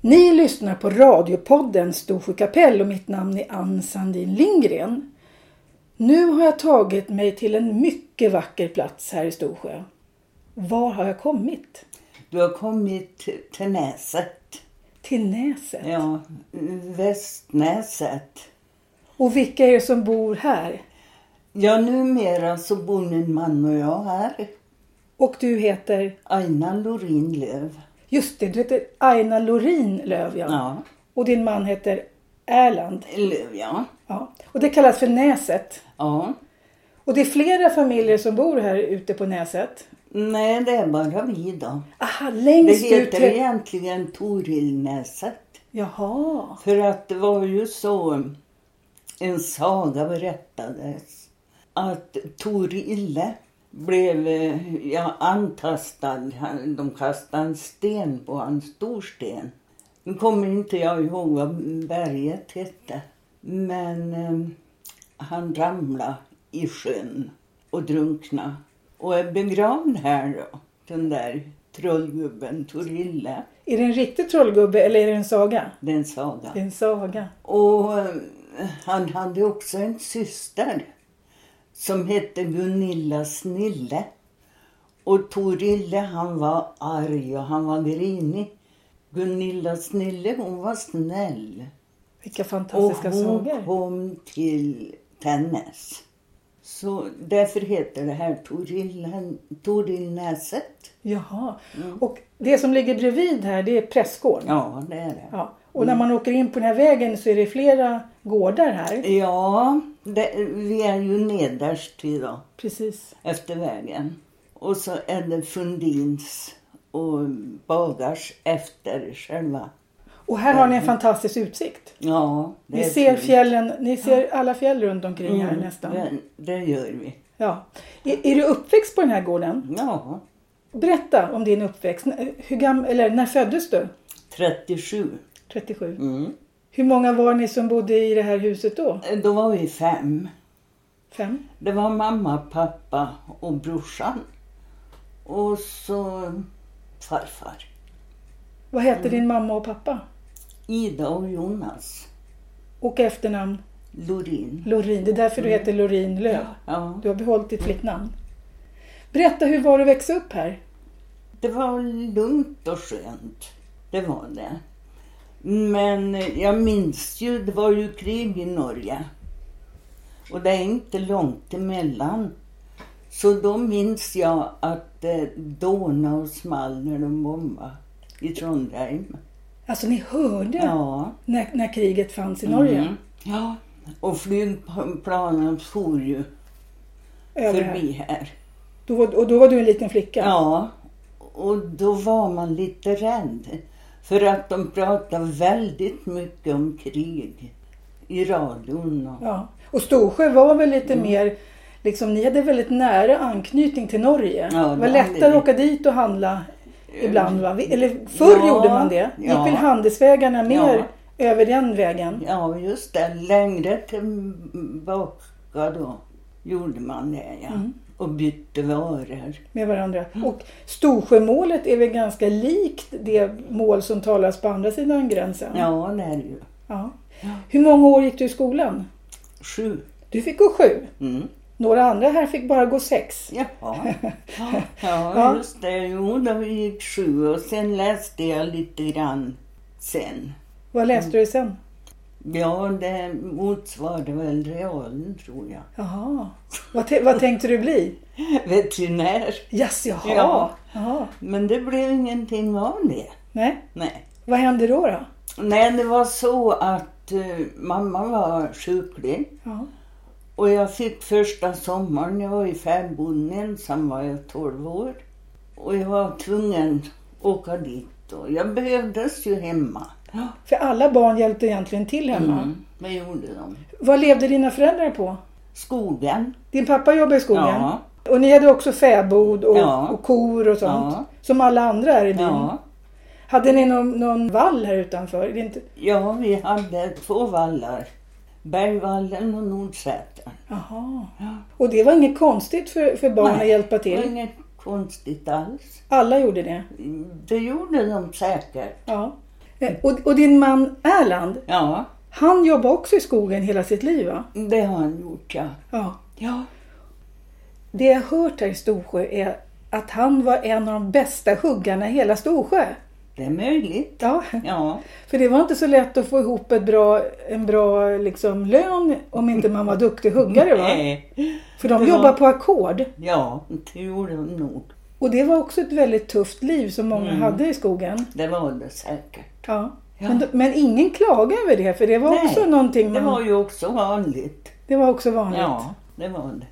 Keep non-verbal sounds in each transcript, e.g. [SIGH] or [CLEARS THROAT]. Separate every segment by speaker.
Speaker 1: Ni lyssnar på radiopodden Storsjö kapell och mitt namn är Ann Sandin Lindgren. Nu har jag tagit mig till en mycket vacker plats här i Storsjö. Var har jag kommit?
Speaker 2: Du har kommit till Näset.
Speaker 1: Till Näset.
Speaker 2: Ja, Västnäset.
Speaker 1: Och vilka är det som bor här?
Speaker 2: Ja, numera så bor min man och jag här.
Speaker 1: Och du heter?
Speaker 2: Aina Lorin Löv.
Speaker 1: Just det, du heter Aina Lorin Löf, ja.
Speaker 2: Ja,
Speaker 1: Och din man heter Erland.
Speaker 2: Löv ja.
Speaker 1: Ja. Och det kallas för Näset.
Speaker 2: Ja.
Speaker 1: Och det är flera familjer som bor här ute på Näset.
Speaker 2: Nej, det är bara vi då.
Speaker 1: Aha,
Speaker 2: Det
Speaker 1: längst ut
Speaker 2: heter
Speaker 1: till...
Speaker 2: egentligen Torilnäset.
Speaker 1: Jaha.
Speaker 2: För att det var ju så, um, en saga berättades, att Torille blev eh, ja, antastad. Han- De kastade en sten på en stor sten. Nu kommer inte jag ihåg vad berget hette. Men eh, han ramlade i sjön och drunknade. Och är begravd här då, den där trollgubben Torille.
Speaker 1: Är det en riktig trollgubbe eller är det en saga?
Speaker 2: Det är en saga.
Speaker 1: Det är en saga.
Speaker 2: Och eh, han hade också en syster som hette Gunilla Snille. Och Torille han var arg och han var grinig. Gunilla Snille hon var snäll.
Speaker 1: Vilka
Speaker 2: Och
Speaker 1: fantastiska
Speaker 2: hon
Speaker 1: sagor.
Speaker 2: kom till Tännäs. Så därför heter det här Torillen- Torillnäset.
Speaker 1: Jaha. Och det som ligger bredvid här, det är prästgården.
Speaker 2: Mm. Ja, Mm. det är det.
Speaker 1: Ja. Och när man åker in på den här vägen så är det flera gårdar här.
Speaker 2: Ja, det, vi är ju nederst idag.
Speaker 1: Precis.
Speaker 2: efter vägen. Och så är det Fundins och Bagars efter själva.
Speaker 1: Och här har ni en fantastisk utsikt.
Speaker 2: Ja,
Speaker 1: Ni
Speaker 2: Mm. är
Speaker 1: ser
Speaker 2: fint.
Speaker 1: fjällen, ni ser alla fjäll runt omkring här
Speaker 2: Mm,
Speaker 1: nästan.
Speaker 2: Det, det gör vi.
Speaker 1: Ja. Är, är du uppväxt på den här gården?
Speaker 2: Ja,
Speaker 1: Berätta om din uppväxt. N- Hur gam, eller när föddes du?
Speaker 2: 37.
Speaker 1: 37.
Speaker 2: Mm.
Speaker 1: Hur många var ni som bodde i det här huset då?
Speaker 2: Då var vi fem.
Speaker 1: Fem?
Speaker 2: Det var mamma, pappa och brorsan. Och så farfar.
Speaker 1: Vad
Speaker 2: Mm.
Speaker 1: hette din mamma och pappa?
Speaker 2: Ida och Jonas.
Speaker 1: Och efternamn?
Speaker 2: Lorin.
Speaker 1: Lorin. Det är därför du heter Lorin Löv.
Speaker 2: Mm. Ja.
Speaker 1: Du har behållit ditt flicknamn. Berätta, hur var det att växa upp här?
Speaker 2: Det var lugnt och skönt. Det var det. Men jag minns ju, det var ju krig i Norge. Och det är inte långt emellan. Så då minns jag att det dåna och small när de bombade i Trondheim.
Speaker 1: Alltså, ni hörde
Speaker 2: Ja.
Speaker 1: när, när kriget fanns i Norge.
Speaker 2: Mm. Ja. Och flygplanen for ju
Speaker 1: Över här.
Speaker 2: förbi här.
Speaker 1: Då, var- och då var du en liten flicka?
Speaker 2: Ja, och då var man lite rädd. För att de pratade väldigt mycket om krig i radion. Och,
Speaker 1: Ja, och Storsjö var väl lite
Speaker 2: Mm.
Speaker 1: mer, liksom, ni hade väldigt nära anknytning till Norge.
Speaker 2: Ja,
Speaker 1: det var
Speaker 2: det
Speaker 1: lättare
Speaker 2: hade
Speaker 1: att
Speaker 2: vi.
Speaker 1: åka dit och handla ibland va? Vi- Eller förr
Speaker 2: Ja,
Speaker 1: gjorde man det. Gick
Speaker 2: ja.
Speaker 1: väl handelsvägarna mer över den vägen.
Speaker 2: ja, just det. Längre tillbaka då gjorde man det, ja. Och bytte varor.
Speaker 1: med varandra. Och Storsjömålet är väl ganska likt det mål som talas på andra sidan gränsen.
Speaker 2: Ja, det är det ju.
Speaker 1: Ja. Hur många år gick du i skolan?
Speaker 2: Sju.
Speaker 1: Du fick gå sju.
Speaker 2: Mm.
Speaker 1: Några andra här fick bara gå sex.
Speaker 2: Jaha. Ja,
Speaker 1: Ja.
Speaker 2: ja, just det. Jo, då gick sju och sen läste jag lite grann sen.
Speaker 1: Vad läste du sen?
Speaker 2: Ja, det motsvarade väl realen tror jag.
Speaker 1: Jaha. Vad, te- vad tänkte du bli?
Speaker 2: [LAUGHS] Veterinär.
Speaker 1: Yes, jaha.
Speaker 2: Ja.
Speaker 1: jaha.
Speaker 2: Men det blev ingenting av det.
Speaker 1: Nej.
Speaker 2: Nej.
Speaker 1: Vad hände då? då?
Speaker 2: Nej, det var så att eh, mamma var sjuklig.
Speaker 1: Ja.
Speaker 2: Och jag fick första sommaren, jag var i fäboden ensam, var jag 12 år. Och jag var tvungen att åka dit. Och jag behövdes ju hemma.
Speaker 1: För alla barn hjälpte egentligen till hemma.
Speaker 2: Mm. Vad gjorde de?
Speaker 1: Vad levde dina föräldrar på?
Speaker 2: Skogen.
Speaker 1: Din pappa jobbade i skogen.
Speaker 2: Ja.
Speaker 1: Och ni hade också fäbod och,
Speaker 2: Ja.
Speaker 1: och kor och sånt.
Speaker 2: Ja.
Speaker 1: Som alla andra här i byn.
Speaker 2: Ja.
Speaker 1: Hade ni någon, någon vall här utanför? Det är inte...
Speaker 2: ja, vi hade två vallar. Bergvallen och Nordsätern.
Speaker 1: Jaha. Och det var inget konstigt för, för barn
Speaker 2: Nej,
Speaker 1: att hjälpa
Speaker 2: Det var
Speaker 1: till?
Speaker 2: inget konstigt alls.
Speaker 1: Alla gjorde det?
Speaker 2: Det gjorde de säkert.
Speaker 1: Ja. Eh, Och, och din man Erland,
Speaker 2: Ja,
Speaker 1: han jobbar också i skogen hela sitt liv va?
Speaker 2: det har han gjort ja.
Speaker 1: Ja.
Speaker 2: Ja,
Speaker 1: Det jag hört här i Storsjö är att han var en av de bästa huggarna i hela Storsjö.
Speaker 2: det är möjligt.
Speaker 1: Ja.
Speaker 2: Ja,
Speaker 1: För det var inte så lätt att få ihop ett bra, en bra liksom, lön om inte man var duktig huggare va?
Speaker 2: Nej.
Speaker 1: För de
Speaker 2: Det var-
Speaker 1: jobbar på ackord.
Speaker 2: Eh, ja det gjorde han nog.
Speaker 1: Och det var också ett väldigt tufft liv som många
Speaker 2: Mm.
Speaker 1: hade i skogen.
Speaker 2: Det var det säkert.
Speaker 1: Ja.
Speaker 2: Ja.
Speaker 1: Men, men ingen klagade över det för det var
Speaker 2: Nej,
Speaker 1: också någonting
Speaker 2: Det
Speaker 1: man,
Speaker 2: var ju också vanligt.
Speaker 1: det var också vanligt.
Speaker 2: Ja, det var det.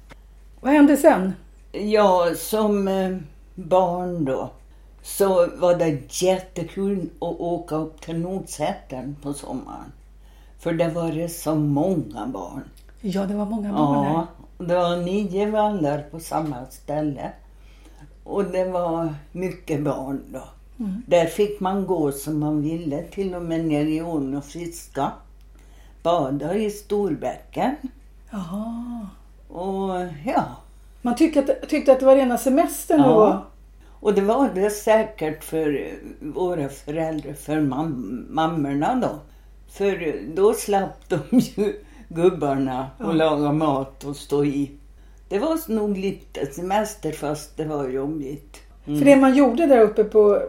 Speaker 1: Vad hände sen?
Speaker 2: Ja, som eh, barn då så var det jättekul att åka upp till Nordsätern på sommaren. För det var det så många barn.
Speaker 1: Ja, det var många barn där.
Speaker 2: Ja, det var nio vallar på samma ställe. Och det var mycket barn då. Där fick man gå som man ville, till och med ner i ån och fiska. Bada i Storbäcken.
Speaker 1: Jaha.
Speaker 2: Och ja,
Speaker 1: Man tyckte att, tyckte att det var rena semestern
Speaker 2: Ja.
Speaker 1: då.
Speaker 2: Och det var det säkert för eh, våra föräldrar, för mam- mammorna då. För eh, då slapp de [LAUGHS] ju gubbarna och laga mat och stå i. Det var nog lite semester fast det var jobbigt.
Speaker 1: För det man gjorde där uppe på,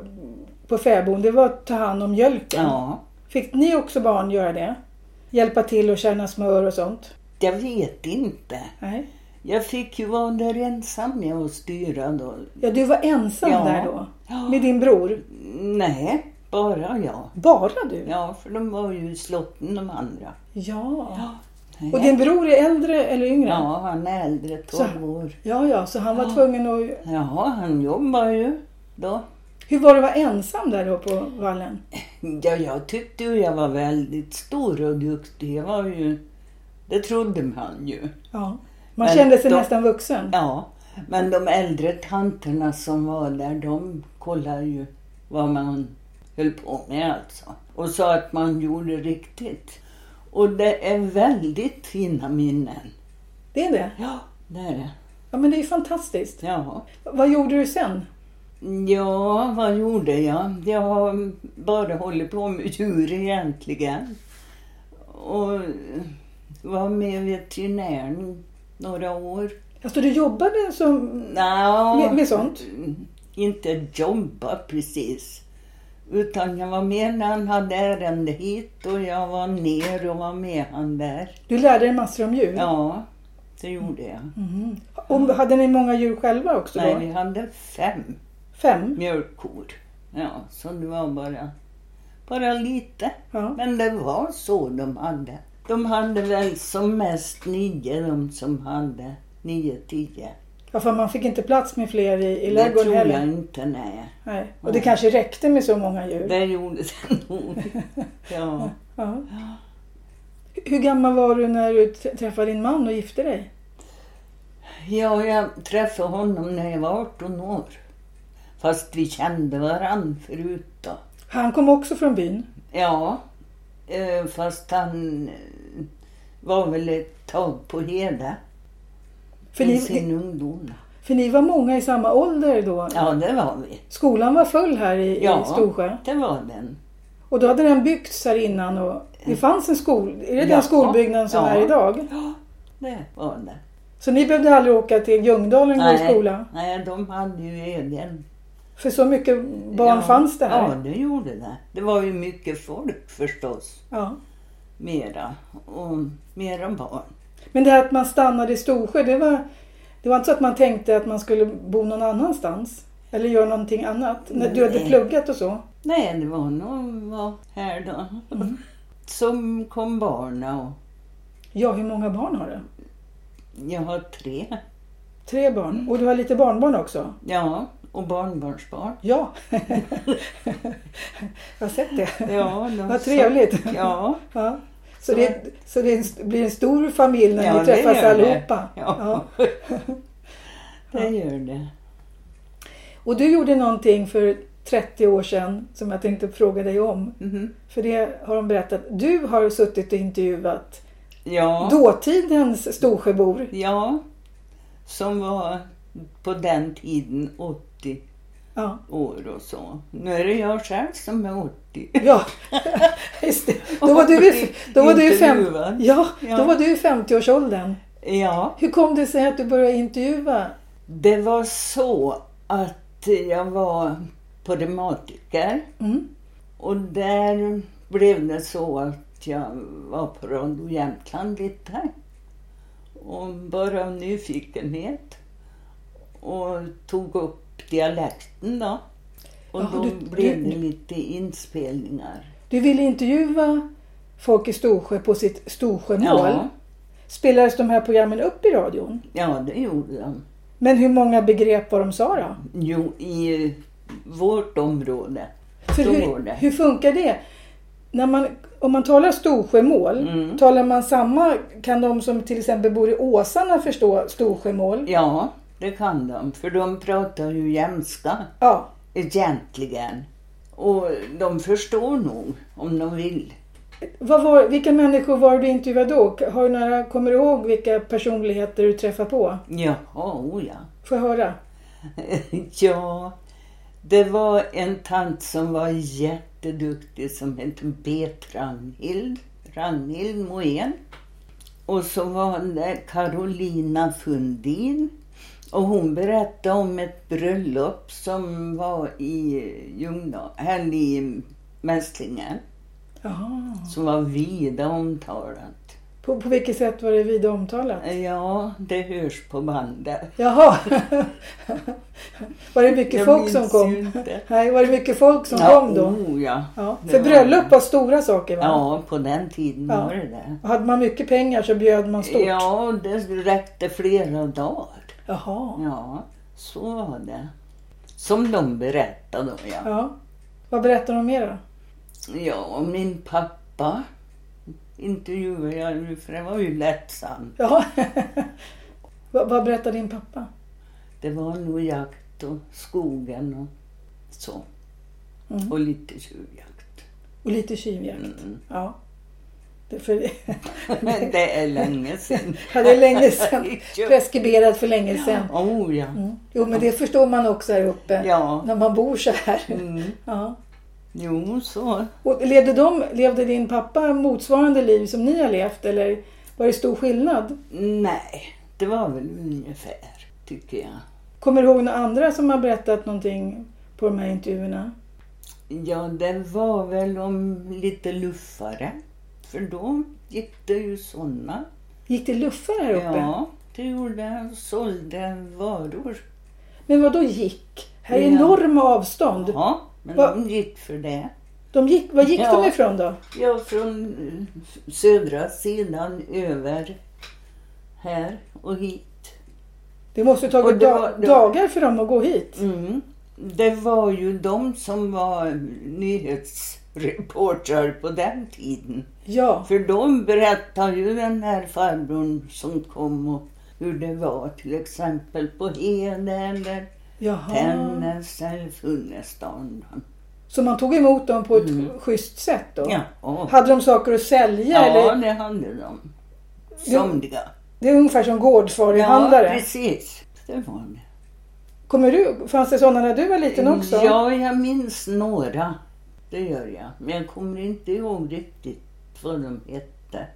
Speaker 1: på fäbon, det var att ta hand om mjölken.
Speaker 2: Ja,
Speaker 1: Fick ni också barn göra det? Hjälpa till och kärna smör och sånt?
Speaker 2: jag vet inte.
Speaker 1: Nej.
Speaker 2: Jag fick ju vara där ensam jag och styra då.
Speaker 1: Ja, du var ensam
Speaker 2: Ja.
Speaker 1: där då?
Speaker 2: Ja.
Speaker 1: Med din bror?
Speaker 2: Nej, bara jag.
Speaker 1: Bara du?
Speaker 2: Ja, för de var ju i slotten de andra.
Speaker 1: Ja.
Speaker 2: Nej.
Speaker 1: Och din bror är äldre eller yngre?
Speaker 2: Ja, han är äldre, 12 år.
Speaker 1: Ja, ja, så han var tvungen att...
Speaker 2: Ja, han jobbar ju då.
Speaker 1: Hur var det att vara ensam där då på vallen?
Speaker 2: Ja, jag tyckte ju jag var väldigt stor och duktig. Jag var ju... Det trodde man ju.
Speaker 1: Ja. Man
Speaker 2: Men
Speaker 1: kände sig
Speaker 2: då-
Speaker 1: nästan vuxen.
Speaker 2: Ja, men de äldre tanterna som var där, de kollade ju vad man höll på med alltså. Och sa att man gjorde riktigt. Och det är väldigt fina minnen.
Speaker 1: Det är det?
Speaker 2: Ja, det är det.
Speaker 1: Ja, men det är ju fantastiskt.
Speaker 2: Ja.
Speaker 1: Vad gjorde du sen?
Speaker 2: Ja, vad gjorde jag? Jag har bara hållit på med djur egentligen. Och var med veterinären några år.
Speaker 1: Alltså, du jobbade som...
Speaker 2: Nå,
Speaker 1: Med- med sånt?
Speaker 2: Inte jobba precis. Utan jag var med när han hade ärende hit och jag var ner och var med han där.
Speaker 1: Du lärde dig massor om djur?
Speaker 2: Ja, det gjorde jag.
Speaker 1: Mhm. Och hade ni många djur själva också då?
Speaker 2: Nej, vi hade fem
Speaker 1: Fem?
Speaker 2: mjölkkor. Ja, så det var bara, bara lite.
Speaker 1: Ja.
Speaker 2: Men det var så de hade. De hade väl som mest nio, de som hade. Nio, tio.
Speaker 1: Ja, för man fick inte plats med fler i, i
Speaker 2: Det
Speaker 1: ladugården
Speaker 2: tror jag
Speaker 1: heller.
Speaker 2: inte, nej.
Speaker 1: Nej. Och det kanske räckte med så många djur.
Speaker 2: Det gjorde det [LAUGHS] nog. Ja.
Speaker 1: Ja. Hur gammal var du när du t- träffade din man och gifte dig?
Speaker 2: ja, jag träffade honom när jag var 18 år. Fast vi kände varann förut då.
Speaker 1: Han kom också från byn.
Speaker 2: Ja, eh, fast han eh, var väl ett tag på Hede
Speaker 1: För
Speaker 2: i
Speaker 1: ni,
Speaker 2: sin ungdom.
Speaker 1: för ni var många i samma ålder då.
Speaker 2: Ja, det var vi.
Speaker 1: Skolan var full här i, i
Speaker 2: Ja.
Speaker 1: Storsjö.
Speaker 2: Det var den.
Speaker 1: Och då hade den byggts här innan och det fanns en skol... Är det den
Speaker 2: Ja.
Speaker 1: skolbyggnaden som
Speaker 2: Ja.
Speaker 1: är idag?
Speaker 2: Ja, det var det.
Speaker 1: Så ni behövde aldrig åka till Ljungdalen och gå i skolan?
Speaker 2: nej, de hade ju egen.
Speaker 1: För så mycket barn
Speaker 2: ja.
Speaker 1: fanns det här?
Speaker 2: Ja, det gjorde det. Det var ju mycket folk förstås.
Speaker 1: Ja.
Speaker 2: Mera. Och mera barn.
Speaker 1: Men det här att man stannade i Storsjö, det var, det var inte så att man tänkte att man skulle bo någon annanstans? Eller göra någonting annat? När du hade
Speaker 2: Nej.
Speaker 1: pluggat och så?
Speaker 2: Nej, det var någon var här då.
Speaker 1: Mm.
Speaker 2: [LAUGHS] Som kom barna och
Speaker 1: Ja, hur många barn har du?
Speaker 2: jag har tre.
Speaker 1: Tre barn.
Speaker 2: Mm.
Speaker 1: Och du har lite barnbarn också?
Speaker 2: Ja, och barnbarnsbarn. [LAUGHS]
Speaker 1: Ja. [LAUGHS] Jag har sett det.
Speaker 2: Ja,
Speaker 1: [LAUGHS]
Speaker 2: de
Speaker 1: Vad trevligt.
Speaker 2: Ja,
Speaker 1: Ja. Så, det, så det är en st- blir en stor familj när
Speaker 2: Ja,
Speaker 1: ni
Speaker 2: det
Speaker 1: träffas
Speaker 2: gör det.
Speaker 1: allihopa?
Speaker 2: Ja. [LAUGHS] det gör det.
Speaker 1: Och du gjorde någonting för 30 år sedan som jag tänkte fråga dig om.
Speaker 2: Mhm.
Speaker 1: För det har de berättat. Du har suttit och intervjuat
Speaker 2: Ja.
Speaker 1: dåtidens Storsjöbor.
Speaker 2: Ja, som var på den tiden 80
Speaker 1: Ja.
Speaker 2: år och så. Nu är det jag själv som är 80.
Speaker 1: Ja, just det. Då var du i, då var du i, fem,
Speaker 2: Intervjuad.
Speaker 1: ja,
Speaker 2: Ja.
Speaker 1: då var du i 50-årsåldern.
Speaker 2: [LAUGHS] Ja,
Speaker 1: Hur kom det sig att du började intervjua?
Speaker 2: det var så att jag var på reumatiker
Speaker 1: Mm.
Speaker 2: och där blev det så att jag var på Radio Jämtland lite. Och bara av nyfikenhet. Och tog upp dialekten då. Och
Speaker 1: Jaha,
Speaker 2: då
Speaker 1: du-
Speaker 2: blev
Speaker 1: du-
Speaker 2: det lite inspelningar.
Speaker 1: Du ville intervjua folk i Storsjö på sitt Storsjömål.
Speaker 2: Ja,
Speaker 1: Spelades de här programmen upp i radion?
Speaker 2: ja, det gjorde de.
Speaker 1: Men hur många begrep vad de sa då?
Speaker 2: Jo, i vårt område.
Speaker 1: För
Speaker 2: Då
Speaker 1: hur,
Speaker 2: går det.
Speaker 1: hur funkar det? När man, om man talar Storsjömål,
Speaker 2: Mm.
Speaker 1: talar man samma, kan de som till exempel bor i Åsarna förstå Storsjömål?
Speaker 2: Ja, det kan de. För de pratar ju jämska
Speaker 1: Ja.
Speaker 2: egentligen. Och de förstår nog om de vill.
Speaker 1: Vad var, vilka människor var du intervjuade då? Har du några, kommer du ihåg vilka personligheter du träffade på?
Speaker 2: Jaha, oh ja.
Speaker 1: Får jag höra?
Speaker 2: [LAUGHS] ja, det var en tant som var jätteduktig som hette Bet Ragnhild. Ragnhild Moen. Och så var det Carolina Fundin. Och hon berättade om ett bröllop som var i Ljungdal, eller i Mässlingen.
Speaker 1: Jaha.
Speaker 2: som var vida omtalat.
Speaker 1: På, på vilket sätt var det vida omtalat?
Speaker 2: Ja, det hörs på bandet.
Speaker 1: Jaha. [LAUGHS] var det mycket
Speaker 2: Jag
Speaker 1: folk
Speaker 2: minns
Speaker 1: som kom?
Speaker 2: ju inte.
Speaker 1: Nej, var det mycket folk som kom då?
Speaker 2: Oh, ja.
Speaker 1: Ja.
Speaker 2: Det
Speaker 1: För
Speaker 2: var
Speaker 1: bröllop
Speaker 2: det.
Speaker 1: var stora saker va?
Speaker 2: ja, på den tiden
Speaker 1: Ja.
Speaker 2: var det det.
Speaker 1: Och Hade man mycket pengar så bjöd man stort?
Speaker 2: Ja, det räckte flera dagar.
Speaker 1: Jaha.
Speaker 2: Ja, så var det. Som de berättade då, ja.
Speaker 1: Ja. Vad berättar de mer då?
Speaker 2: Ja, och min pappa intervjuade jag ju, för det var ju lättsamt.
Speaker 1: Ja. [LAUGHS] vad, vad berättar din pappa?
Speaker 2: Det var nog jakt och skogen och så.
Speaker 1: Mm.
Speaker 2: Och lite tjuvjakt.
Speaker 1: Och lite tjuvjakt.
Speaker 2: Mm. [LAUGHS]
Speaker 1: Ja. Det, för, [LAUGHS]
Speaker 2: Men det är länge sedan.
Speaker 1: ja, det är länge sedan.
Speaker 2: [LAUGHS] Ja.
Speaker 1: Preskriberat för länge sedan.
Speaker 2: Oh ja.
Speaker 1: Mm. Jo men det förstår man också här uppe.
Speaker 2: Ja.
Speaker 1: När man bor så här.
Speaker 2: Mm.
Speaker 1: Ja.
Speaker 2: Jo, så.
Speaker 1: Och levde, de, levde din pappa motsvarande liv som ni har levt eller var det stor skillnad?
Speaker 2: Nej, det var väl ungefär, tycker jag.
Speaker 1: Kommer du ihåg några andra som har berättat någonting på de här intervjuerna?
Speaker 2: Ja, det var väl om lite luffare. För då gick det ju sådana.
Speaker 1: Gick det luffar här uppe?
Speaker 2: Ja, det gjorde jag. Sålde varor.
Speaker 1: Men vad då gick? Här är
Speaker 2: Ja.
Speaker 1: enorma avstånd.
Speaker 2: Ja, men
Speaker 1: Va-
Speaker 2: de gick för det.
Speaker 1: De gick, var gick
Speaker 2: Ja.
Speaker 1: de ifrån då?
Speaker 2: Ja, från eh, södra sidan över här och hit.
Speaker 1: Det måste ju
Speaker 2: Och
Speaker 1: tagit
Speaker 2: det
Speaker 1: da-
Speaker 2: var- det var-
Speaker 1: dagar för dem att gå hit.
Speaker 2: Mm. Det var ju de som var nyhetsreportrar på den tiden.
Speaker 1: Ja,
Speaker 2: För de berättade ju den här farbrorn som kom och hur det var till exempel på Hede eller
Speaker 1: Ah. jaha.
Speaker 2: Tännäs eller Funäsdalen.
Speaker 1: Så man tog emot dem på ett schysst sätt då?
Speaker 2: Mm. Ja, och,
Speaker 1: Hade de saker att sälja?
Speaker 2: ja,
Speaker 1: Eller?
Speaker 2: det hade de. Somliga.
Speaker 1: Det är ungefär som gårdsvaruhandlare.
Speaker 2: Ja, precis. Det var det.
Speaker 1: Kommer du, fanns det sådana när du var liten också?
Speaker 2: Ja, jag minns några. Det gör jag. Men jag kommer inte ihåg riktigt vad de hette.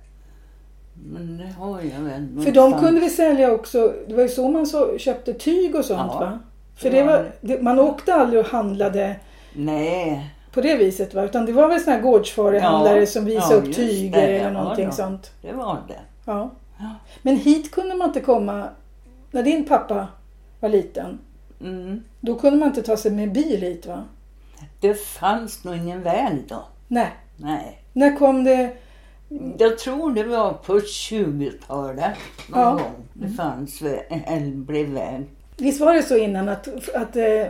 Speaker 2: Men det har jag väl
Speaker 1: För
Speaker 2: någonstans.
Speaker 1: de kunde vi sälja också, det var ju så man så, köpte tyg och sånt
Speaker 2: Ja.
Speaker 1: va? För
Speaker 2: Det
Speaker 1: det
Speaker 2: var
Speaker 1: var, det, man åkte aldrig och handlade
Speaker 2: Nej.
Speaker 1: på det viset va? Utan det var väl sådana här gårdsvaruhandlare
Speaker 2: Ja,
Speaker 1: som visade
Speaker 2: ja,
Speaker 1: upp
Speaker 2: just
Speaker 1: tyger
Speaker 2: det,
Speaker 1: eller
Speaker 2: ja,
Speaker 1: någonting
Speaker 2: ja.
Speaker 1: sånt.
Speaker 2: Det var det.
Speaker 1: Ja.
Speaker 2: Ja.
Speaker 1: Men hit kunde man inte komma när din pappa var liten.
Speaker 2: Mm.
Speaker 1: Då kunde man inte ta sig med bil hit va?
Speaker 2: Det fanns nog ingen väg då.
Speaker 1: Nej.
Speaker 2: Nej.
Speaker 1: När kom det?
Speaker 2: Jag tror det var på 20-talet någon
Speaker 1: Ja. Mm.
Speaker 2: gång. Det fanns vä- eller blev väg.
Speaker 1: Visst var det så innan att, att eh,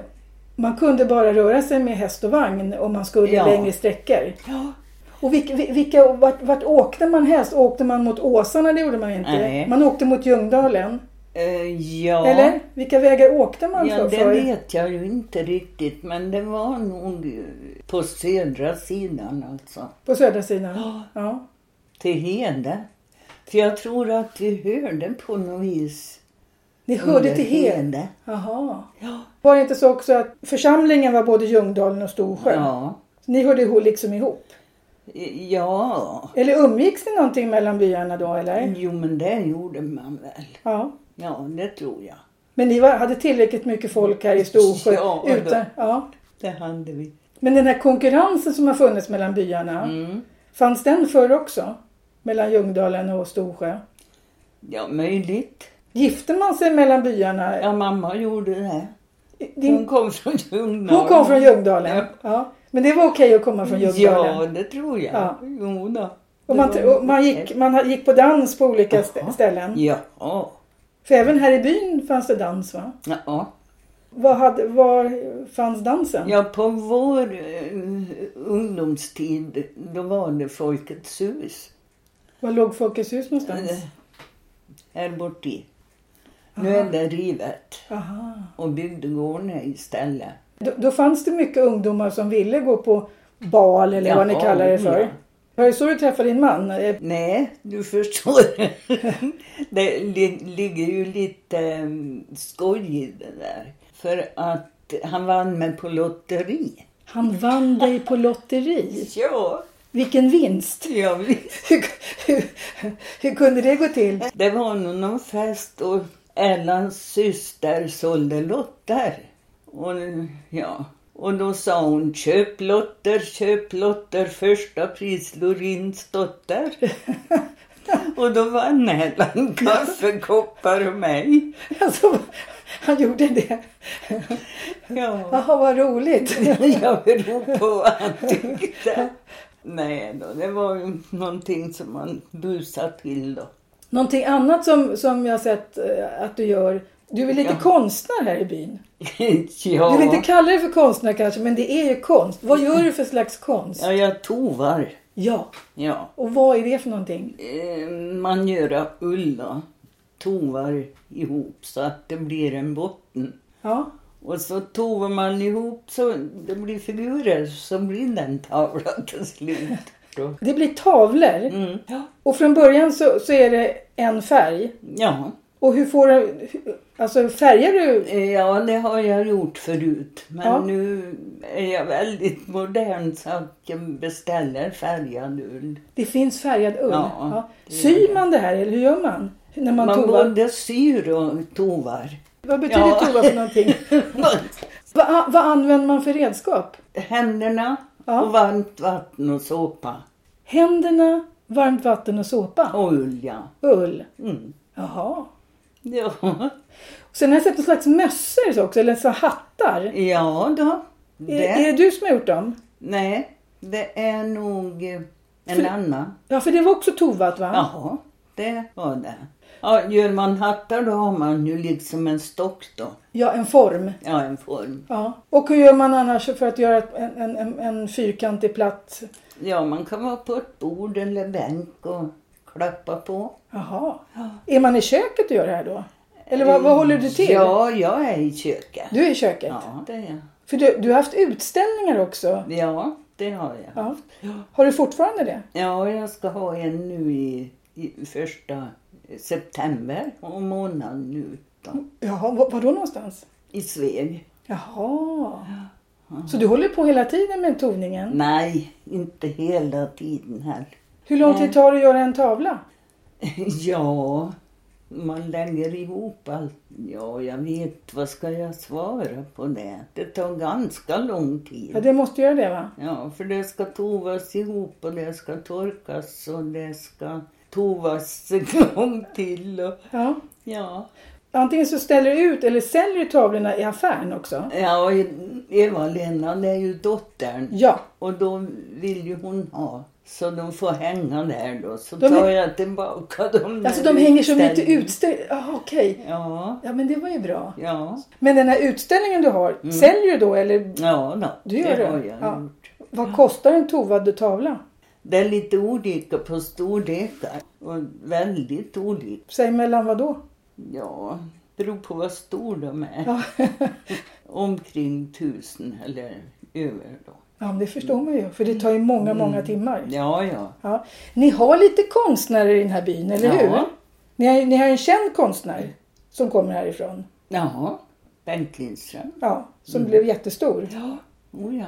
Speaker 1: man kunde bara röra sig med häst och vagn om man skulle
Speaker 2: Ja.
Speaker 1: längre sträckor?
Speaker 2: Ja.
Speaker 1: Och vilka, vilka, vart, vart åkte man helst? Åkte man mot Åsarna? Det gjorde man ju inte.
Speaker 2: Nej.
Speaker 1: Man åkte mot Ljungdalen.
Speaker 2: Eh, ja.
Speaker 1: Eller? Vilka vägar åkte man
Speaker 2: Ja,
Speaker 1: för?
Speaker 2: det vet jag ju inte riktigt, men det var nog eh, på södra sidan alltså.
Speaker 1: På södra sidan?
Speaker 2: Ja.
Speaker 1: Ja.
Speaker 2: Till Hede. För jag tror att vi hörde på något vis
Speaker 1: Ni hörde till Hed?
Speaker 2: Hede.
Speaker 1: Jaha.
Speaker 2: Ja.
Speaker 1: Var det inte så också att församlingen var både Ljungdalen och Storsjö?
Speaker 2: Ja.
Speaker 1: Ni hörde ihop, liksom ihop?
Speaker 2: ja.
Speaker 1: Eller umgicks ni någonting mellan byarna då eller?
Speaker 2: Jo, men det gjorde man väl.
Speaker 1: Ja.
Speaker 2: Ja, det tror jag.
Speaker 1: Men ni var, hade tillräckligt mycket folk här i Storsjö?
Speaker 2: Ja, det-
Speaker 1: utan, ja.
Speaker 2: Det hade vi.
Speaker 1: Men den här konkurrensen som har funnits mellan byarna,
Speaker 2: Mm.
Speaker 1: fanns den förr också? Mellan Ljungdalen och Storsjö?
Speaker 2: Ja, möjligt.
Speaker 1: Gifte man sig mellan byarna?
Speaker 2: Ja, mamma gjorde det. Hon
Speaker 1: Din,
Speaker 2: kom från Ljungdalen.
Speaker 1: hon kom från Ljungdalen?
Speaker 2: Ja.
Speaker 1: Ja. Men det var okej att komma från Ljungdalen?
Speaker 2: Ja, det tror jag.
Speaker 1: Ja.
Speaker 2: Jo då.
Speaker 1: Och man, och man, gick, man gick på dans på olika stä- ställen.
Speaker 2: Ja.
Speaker 1: För även här i byn fanns det dans va?
Speaker 2: ja.
Speaker 1: Var, hade, var fanns dansen?
Speaker 2: Ja, på vår eh, ungdomstid då var det Folkets hus.
Speaker 1: Var låg Folkets hus någonstans?
Speaker 2: Eh, Här borti. Nu är det rivet
Speaker 1: Aha.
Speaker 2: och bygdegården är istället.
Speaker 1: Då, då fanns det mycket ungdomar som ville gå på bal eller vad ni
Speaker 2: Ja,
Speaker 1: kallar det för.
Speaker 2: ja.
Speaker 1: Var det så du träffade din man? Eh,
Speaker 2: Nej, du förstår. [LAUGHS] det li- ligger ju lite eh, skoj i det där. För att han vann mig på lotteri.
Speaker 1: Han vann dig på lotteri.
Speaker 2: Ja,
Speaker 1: Vilken vinst!
Speaker 2: ja visst.
Speaker 1: Hur, hur, hur kunde det gå till?
Speaker 2: Det var nog någon fest och Ellans syster sålde lotter. Och, ja. och då sa hon köp lotter, köp lotter, första pris Lorins dotter. [LAUGHS] och då vann Ellan kaffekoppar och mig.
Speaker 1: Alltså, han gjorde det.
Speaker 2: Ja,
Speaker 1: Jaha, vad roligt.
Speaker 2: jag beror på vad han tyckte. Nej då, det var ju någonting som man busade till då. [LAUGHS]
Speaker 1: Någonting annat som, som jag har sett eh, att du gör. Du är lite
Speaker 2: Ja.
Speaker 1: konstnär här i byn.
Speaker 2: ja.
Speaker 1: Du vill inte kalla det för konstnär kanske, men det är ju konst. Vad gör du för slags konst?
Speaker 2: ja, jag tovar.
Speaker 1: Ja.
Speaker 2: Ja.
Speaker 1: Och vad är det för någonting?
Speaker 2: Eh, man gör av ull då. Tovar ihop så att det blir en botten.
Speaker 1: Ja.
Speaker 2: Och så tovar man ihop så det blir figurer så blir den tavlan till slut. då.
Speaker 1: Det blir tavlor.
Speaker 2: Mm. Ja.
Speaker 1: Och från början så, så är det en färg.
Speaker 2: Ja.
Speaker 1: Och hur får du... hur- Alltså färgar du?
Speaker 2: Eh, ja, det har jag gjort förut. Men
Speaker 1: Ja.
Speaker 2: nu är jag väldigt modern så att jag beställer färgad ull.
Speaker 1: Det finns färgad ull.
Speaker 2: Ja, det gör
Speaker 1: Syr
Speaker 2: jag.
Speaker 1: man det här eller hur gör man? När man,
Speaker 2: Man
Speaker 1: tovar?
Speaker 2: både syr och
Speaker 1: [LAUGHS]
Speaker 2: tovar.
Speaker 1: Vad betyder
Speaker 2: Ja.
Speaker 1: tova för
Speaker 2: [LAUGHS]
Speaker 1: någonting? Va, vad använder man för redskap?
Speaker 2: Händerna
Speaker 1: Ja.
Speaker 2: och varmt vatten och såpa.
Speaker 1: Händerna, varmt vatten och såpa.
Speaker 2: Och ull, ja.
Speaker 1: Ull.
Speaker 2: Mm.
Speaker 1: Jaha.
Speaker 2: Ja.
Speaker 1: Sen har jag sett någon slags mössor också, eller så hattar.
Speaker 2: ja då.
Speaker 1: Är,
Speaker 2: Det,
Speaker 1: är det du som har gjort dem?
Speaker 2: Nej, det är nog eh, en
Speaker 1: För-
Speaker 2: annan.
Speaker 1: Ja, för det var också tovat va?
Speaker 2: Jaha, det var det. Ja, gör man hattar då har man ju liksom en stock då.
Speaker 1: Ja, en form.
Speaker 2: Ja, en form.
Speaker 1: Ja. Och hur gör man annars för att göra ett- en, en, en, en fyrkantig platt?
Speaker 2: Ja, man kan vara på ett bord eller bänk och klappa på.
Speaker 1: Jaha.
Speaker 2: Ja.
Speaker 1: Är man i köket och gör det här då? Eller vad, vad håller du till?
Speaker 2: Ja, jag är i köket.
Speaker 1: Du är i köket?
Speaker 2: Ja, det är
Speaker 1: För du, du har haft utställningar också.
Speaker 2: jag. Ja, det har jag.
Speaker 1: Ja. Har du fortfarande det?
Speaker 2: Ja, jag ska ha en nu i, i första september, om månaden nu då,
Speaker 1: Jaha, var, var då någonstans?
Speaker 2: i Sveg.
Speaker 1: Jaha. Så du håller på hela tiden med
Speaker 2: Mm.
Speaker 1: toningen?
Speaker 2: Nej, inte hela tiden här. [LAUGHS]
Speaker 1: Hur lång tid tar det att göra en tavla?
Speaker 2: Ja, man lägger ihop allt. Ja, jag vet, vad ska jag svara på det? Det tar ganska lång
Speaker 1: Ja,
Speaker 2: tid.
Speaker 1: det måste göra det va?
Speaker 2: Ja, för det ska tovas ihop och det ska torkas och det ska tovas [LAUGHS] en gång till. Och,
Speaker 1: Ja.
Speaker 2: ja.
Speaker 1: Antingen så ställer du ut eller säljer du tavlorna i affären också.
Speaker 2: Ja, och Eva-Lena det är ju dottern
Speaker 1: Ja.
Speaker 2: och då vill ju hon ha. Så de får hänga där då. Så
Speaker 1: De
Speaker 2: tar
Speaker 1: är-
Speaker 2: jag tillbaka dem.
Speaker 1: Alltså
Speaker 2: där
Speaker 1: de hänger som lite
Speaker 2: utställningen.
Speaker 1: utställda. Jaha, okej.
Speaker 2: Ja,
Speaker 1: Ja, men det var ju bra.
Speaker 2: ja,
Speaker 1: Men den här utställningen du har, säljer du då eller
Speaker 2: ja då.
Speaker 1: Du gör
Speaker 2: Mm. det
Speaker 1: det?
Speaker 2: har jag
Speaker 1: Ja.
Speaker 2: gjort.
Speaker 1: vad kostar en tovad tavla?
Speaker 2: Det är lite olika på storlekar och väldigt olika.
Speaker 1: Säg mellan vad då?
Speaker 2: Ja, beror på vad stor de är.
Speaker 1: Ja.
Speaker 2: Omkring tusen eller över då.
Speaker 1: [LAUGHS] ja, men det förstår man ju. För det tar ju många, många timmar.
Speaker 2: Mm. Ja, ja.
Speaker 1: Ja. Ni har lite konstnärer i den här byn, eller
Speaker 2: Ja.
Speaker 1: hur? Ni har, ni har en känd konstnär. som kommer härifrån.
Speaker 2: Jaha, Bengt Lindström.
Speaker 1: Ja, som
Speaker 2: Mm.
Speaker 1: blev jättestor.
Speaker 2: Ja, oh ja.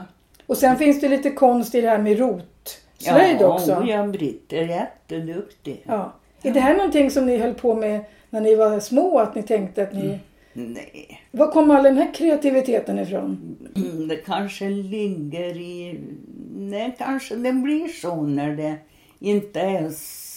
Speaker 1: Och sen finns det lite konst i det här med rotslöjd
Speaker 2: ja,
Speaker 1: också.
Speaker 2: Oh ja, Britt är jätteduktig.
Speaker 1: Ja. Är det här någonting som ni höll på med när ni var små? Att ni tänkte att ni...
Speaker 2: Mm. Nej,
Speaker 1: Var kom all den här kreativiteten ifrån?
Speaker 2: det kanske ligger i... Nej, kanske det blir så när det inte är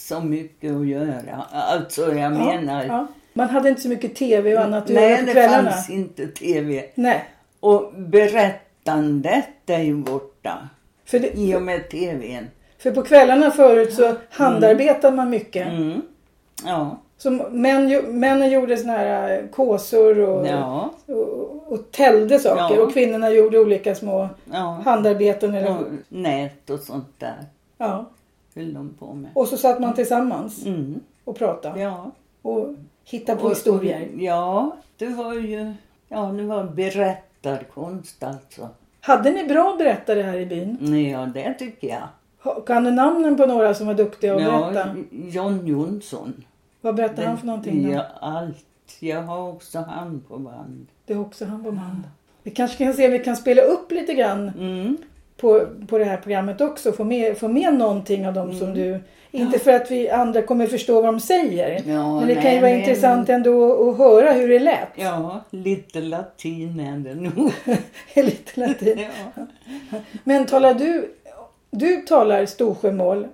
Speaker 2: så mycket att göra. Alltså, jag menar...
Speaker 1: Ja. Man hade inte så mycket tv och annat att göra
Speaker 2: Nej,
Speaker 1: på
Speaker 2: det
Speaker 1: kvällarna.
Speaker 2: fanns inte tv.
Speaker 1: Nej,
Speaker 2: Och berättandet är ju borta
Speaker 1: för, det,
Speaker 2: i och med tvn.
Speaker 1: för på kvällarna förut så handarbetade man mycket.
Speaker 2: Mm. Ja.
Speaker 1: Så män, ju- männen gjorde såna här eh, kåsor och,
Speaker 2: Ja.
Speaker 1: och, och täljde saker
Speaker 2: Ja.
Speaker 1: och kvinnorna gjorde olika små
Speaker 2: ja.
Speaker 1: handarbeten. Eller,
Speaker 2: ja.
Speaker 1: ja.
Speaker 2: Nät och sånt där höll de på med.
Speaker 1: Och så satt man tillsammans
Speaker 2: Mm.
Speaker 1: och pratade
Speaker 2: Ja.
Speaker 1: och hittade på
Speaker 2: Och-
Speaker 1: historier.
Speaker 2: Ja, det var ju... Ja, det var berättarkonst alltså.
Speaker 1: Hade ni bra berättare här i byn?
Speaker 2: Nej, Ja, det tycker jag.
Speaker 1: Ha- Kan du namnen på några som var duktiga att berätta?
Speaker 2: Ja, John Jonsson.
Speaker 1: Vad berättade han för någonting då?
Speaker 2: Ja, allt. Jag har också han på band.
Speaker 1: Det är också han på band. Vi kanske kan se om vi kan spela upp lite grann
Speaker 2: Mm.
Speaker 1: på, på det här programmet också. Få med, få med någonting av dem som
Speaker 2: Mm.
Speaker 1: du... Inte för att vi andra kommer förstå vad de säger.
Speaker 2: Ja,
Speaker 1: men det kan ju
Speaker 2: nej,
Speaker 1: vara
Speaker 2: men-
Speaker 1: intressant ändå att höra hur det lät. [LAUGHS]
Speaker 2: Ja, lite latin är det nog.
Speaker 1: Lite latin.
Speaker 2: ja.
Speaker 1: Men talar du... Du talar Storsjömål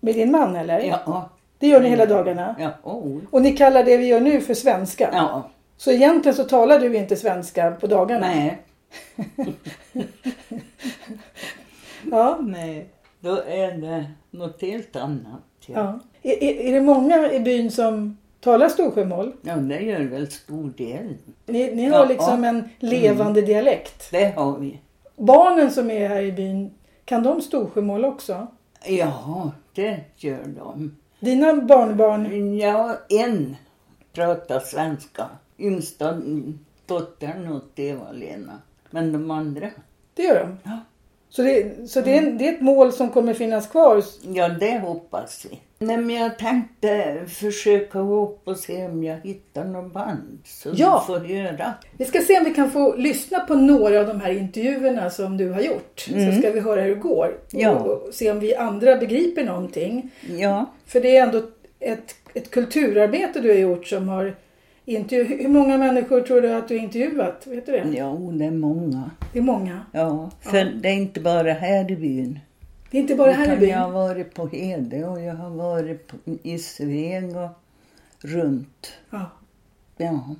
Speaker 1: med din man eller?
Speaker 2: ja. Mm.
Speaker 1: Det gör ni hela dagarna?
Speaker 2: Ja, oh.
Speaker 1: Och ni kallar det vi gör nu för svenska?
Speaker 2: ja.
Speaker 1: Så egentligen så talar du inte svenska på dagarna?
Speaker 2: nej.
Speaker 1: Ja.
Speaker 2: nej. Då är det något helt annat. Ja,
Speaker 1: ja. Är, är, är det många i byn som talar Storsjömål?
Speaker 2: ja det gör väl stor del.
Speaker 1: Ni, ni
Speaker 2: Ja.
Speaker 1: har liksom en levande dialekt.
Speaker 2: Det har vi.
Speaker 1: Barnen som är här i byn, kan de Storsjömål också?
Speaker 2: Ja, det gör de.
Speaker 1: Dina barnbarn,
Speaker 2: Ja, en pratar svenska. Yngsta dottern åt det var Lena. Men de andra,
Speaker 1: det gör de.
Speaker 2: Ja. Mm.
Speaker 1: Så, det, så det, är, det är ett mål som kommer finnas kvar.
Speaker 2: ja det hoppas vi. Nej, men jag tänkte försöka gå upp och se om jag hittar något band. Så
Speaker 1: Ja.
Speaker 2: du får göra.
Speaker 1: Vi ska se om vi kan få lyssna på några av de här intervjuerna som du har gjort. Så ska vi höra hur det går.
Speaker 2: Mm. Ja.
Speaker 1: Och, och se om vi andra begriper någonting.
Speaker 2: Ja,
Speaker 1: För det är ändå ett, ett kulturarbete du har gjort som har intervju... Hur många människor tror du att du har intervjuat? Vet du det?
Speaker 2: ja det är många.
Speaker 1: Det är många.
Speaker 2: Ja, för det är inte bara här i byn.
Speaker 1: Det är inte bara här i
Speaker 2: Utan
Speaker 1: byn.
Speaker 2: jag har varit på Hede och jag har varit på, i Sveg och runt.
Speaker 1: Ja.
Speaker 2: Ja.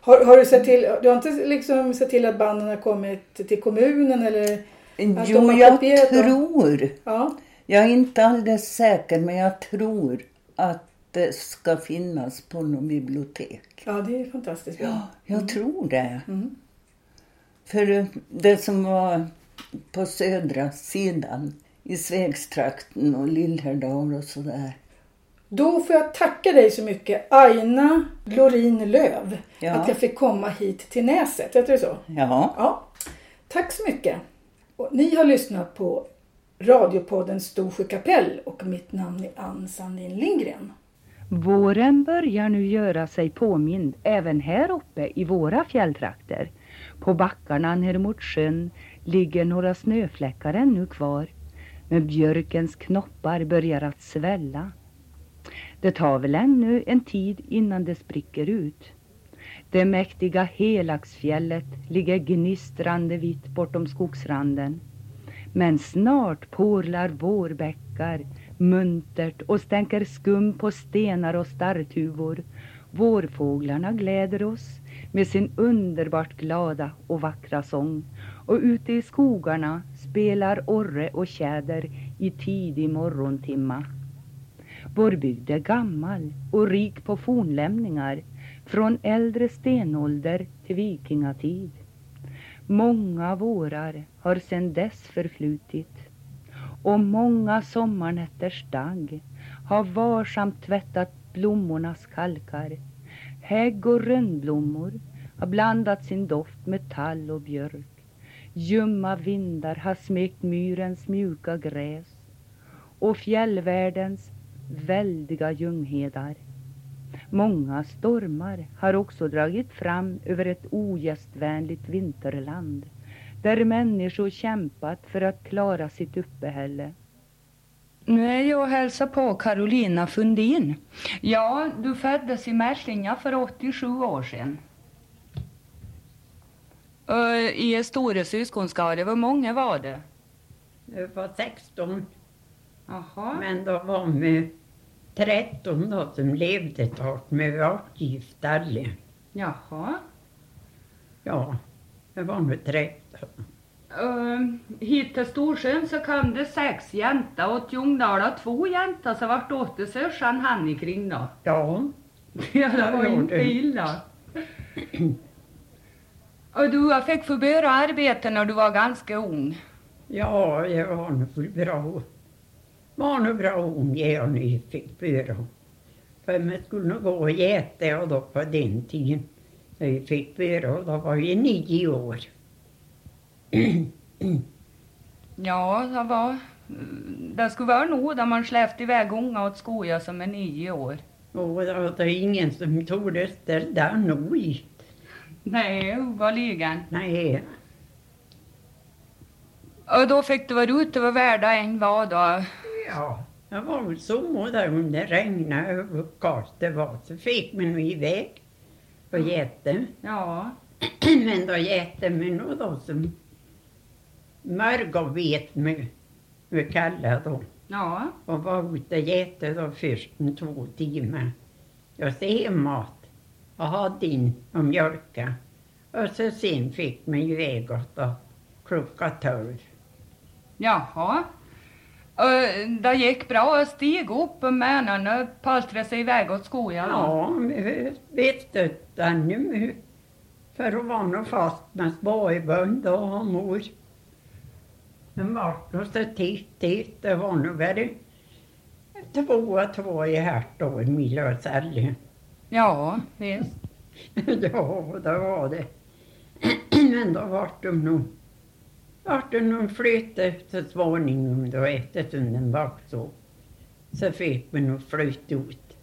Speaker 1: Har, har du, sett till, du har inte liksom sett till att banden har kommit till kommunen eller? Att de
Speaker 2: Jo,
Speaker 1: har
Speaker 2: jag
Speaker 1: kopierat dem?
Speaker 2: tror.
Speaker 1: Ja.
Speaker 2: Jag är inte alldeles säker, men jag tror att det ska finnas på något bibliotek.
Speaker 1: ja, det är fantastiskt bra.
Speaker 2: Ja, jag tror det.
Speaker 1: Mm.
Speaker 2: För eh, det som var på södra sidan, i Svegstrakten och Lillhärdal och sådär.
Speaker 1: Då får jag tacka dig så mycket Aina Glorin Löv
Speaker 2: Ja.
Speaker 1: att jag fick komma hit till Näset. Heter det så?
Speaker 2: Ja,
Speaker 1: Ja. Tack så mycket. Och ni har lyssnat på radiopodden Storsjö kapell och mitt namn är Ann Sandin Lindgren.
Speaker 3: Våren börjar nu göra sig påmind även här uppe i våra fjälltrakter. På backarna ner mot sjön ligger några snöfläckar ännu kvar. Men björkens knoppar börjar att svälla. Det tar väl ännu en tid innan det spricker ut. Det mäktiga Helaxfjället ligger gnistrande vitt bortom skogsranden. Men snart porlar vårbäckar muntert och stänker skum på stenar och starrtuvor. Vårfåglarna gläder oss med sin underbart glada och vackra sång. Och ute i skogarna spelar orre och tjäder i tidig morgontimma. Vår bygd är gammal och rik på fornlämningar från äldre stenålder till vikingatid. Många vårar har sedan dess förflutit och många sommarnätters dag har varsamt tvättat blommornas kalkar. Hägg och rönnblommor har blandat sin doft med tall och björk. Ljumma vindar har smekt myrens mjuka gräs och fjällvärldens väldiga ljunghedar. Många stormar har också dragit fram över ett ogästvänligt vinterland där människor kämpat för att klara sitt uppehälle. Nu är jag och hälsar på Carolina Fundin. Ja, du föddes i Märslinga för 87 år sedan. Ö, I er store syskonskara, hur många var det?
Speaker 4: Vi var 16,
Speaker 3: Jaha.
Speaker 4: men då var vi 13 då som levde ett tag, men vi var inte gifta alla.
Speaker 3: Jaha.
Speaker 4: Ja, vi var med 13.
Speaker 3: Uh, hit till Storsjön så kom det sex jäntor och till Ljungdala två jäntor så vart åtte syrsan Hannikring då. [LAUGHS]
Speaker 4: Ja,
Speaker 3: Ja, det var
Speaker 4: Ja,
Speaker 3: inte
Speaker 4: det.
Speaker 3: illa. Och du jag fick förböra arbete när du var ganska ung.
Speaker 4: ja, jag var nog för bra. Var nog bra ung jag jag nu fick byrå. För man skulle nog gå och äta och då på den tiden. När vi fick byrå, då var jag nio år.
Speaker 3: Ja, det var... Det skulle vara nog där man släppte iväg unga åt skoja som är nio år.
Speaker 4: Och det var det ingen som tog det där nog i.
Speaker 3: Nej, obaligen.
Speaker 4: Nej,
Speaker 3: Och då fick du vara ute vad värda än var då.
Speaker 4: Ja, jag var väl så där om det regnade och hur kallt det var så fick man nog iväg på jätten.
Speaker 3: Ja.
Speaker 4: [CLEARS THROAT] Men då jätten man nog då som mörgavvet med, med kalla då.
Speaker 3: Ja.
Speaker 4: Och var ute och jätte då först en två timmar. Jag se mat och hade in och mjölka. Och så sen fick man ju iväg åt då klockan tolv.
Speaker 3: Jaha. Eh, Det gick bra. Jag steg upp och männen paltrade sig iväg åt skogen. då.
Speaker 4: Ja, men vet du, Danny, men för att vara någon fast med spårbund och ha mor. Men Markus och titt, titt, det var nog väl två och två i hertår, Milla och Sally.
Speaker 3: Ja, visst.
Speaker 4: [LAUGHS] Ja, det var det. [CLEARS THROAT] Men då vart de nog, vart de nog flyttade så småningom då eftersom den var så. Så fick man nog flytta ut.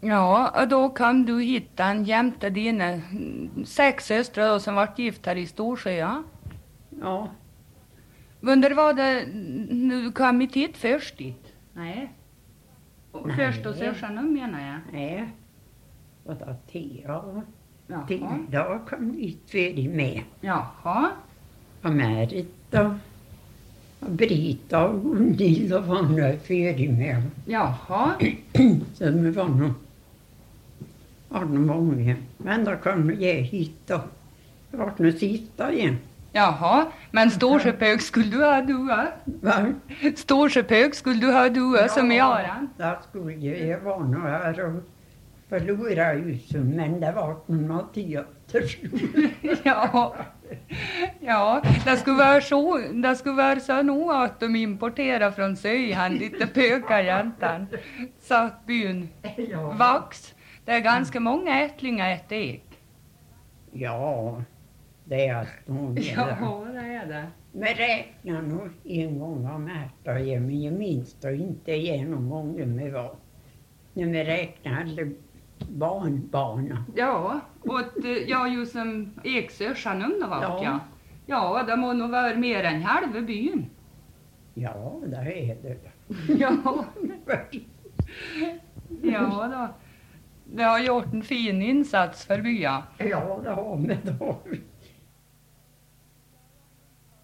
Speaker 3: Ja, och då kom du hit den jämte dina mm, sex systrar då, som vart gifta här i Storsjö.
Speaker 4: Ja,
Speaker 3: Undrar var det du kom hit hit först dit? Nej. Och
Speaker 4: Nej.
Speaker 3: Först och syrsan menar jag.
Speaker 4: Nej. Och då Tia
Speaker 3: Jaha.
Speaker 4: Tilda kom hit före med.
Speaker 3: Jaha.
Speaker 4: Och Märit då. Och Brita och Gunilla var nu före med.
Speaker 3: Jaha.
Speaker 4: Så de var nog var nog många. Men då kom jag hit då. Jag vart nu sista igen.
Speaker 3: Jaha. Men Storsjöpög skulle du ha du va?
Speaker 4: Va?
Speaker 3: Storsjöpög skulle du ha du va, som i Aran?
Speaker 4: Där skulle jag, jag var nog här och förlorade huset. Men det vart nog Mattias till slut.
Speaker 3: Ja, ja det skulle vara så, det skulle vara så nog att de importerade från Söjhan lite pökarjäntan. Satt byn
Speaker 4: Ja.
Speaker 3: vax. Det är ganska många ättlingar ett ek.
Speaker 4: [LAUGHS] Ja, det är allt
Speaker 3: [LAUGHS]
Speaker 4: nog det där.
Speaker 3: det är det.
Speaker 4: Men räkna nog en gång vad Märta och jag, men jag minns då inte igenom många vi var. När vi räknade alla barnbarnen.
Speaker 3: Ja, och eh, ja, just som eksörsan undervart
Speaker 4: Ja.
Speaker 3: ja. Ja, det må nog vara mer än halva byn.
Speaker 4: Ja, det är [LAUGHS] det.
Speaker 3: Ja. Ja då. Det har gjort en fin insats för byn.
Speaker 4: Ja, det har vi då.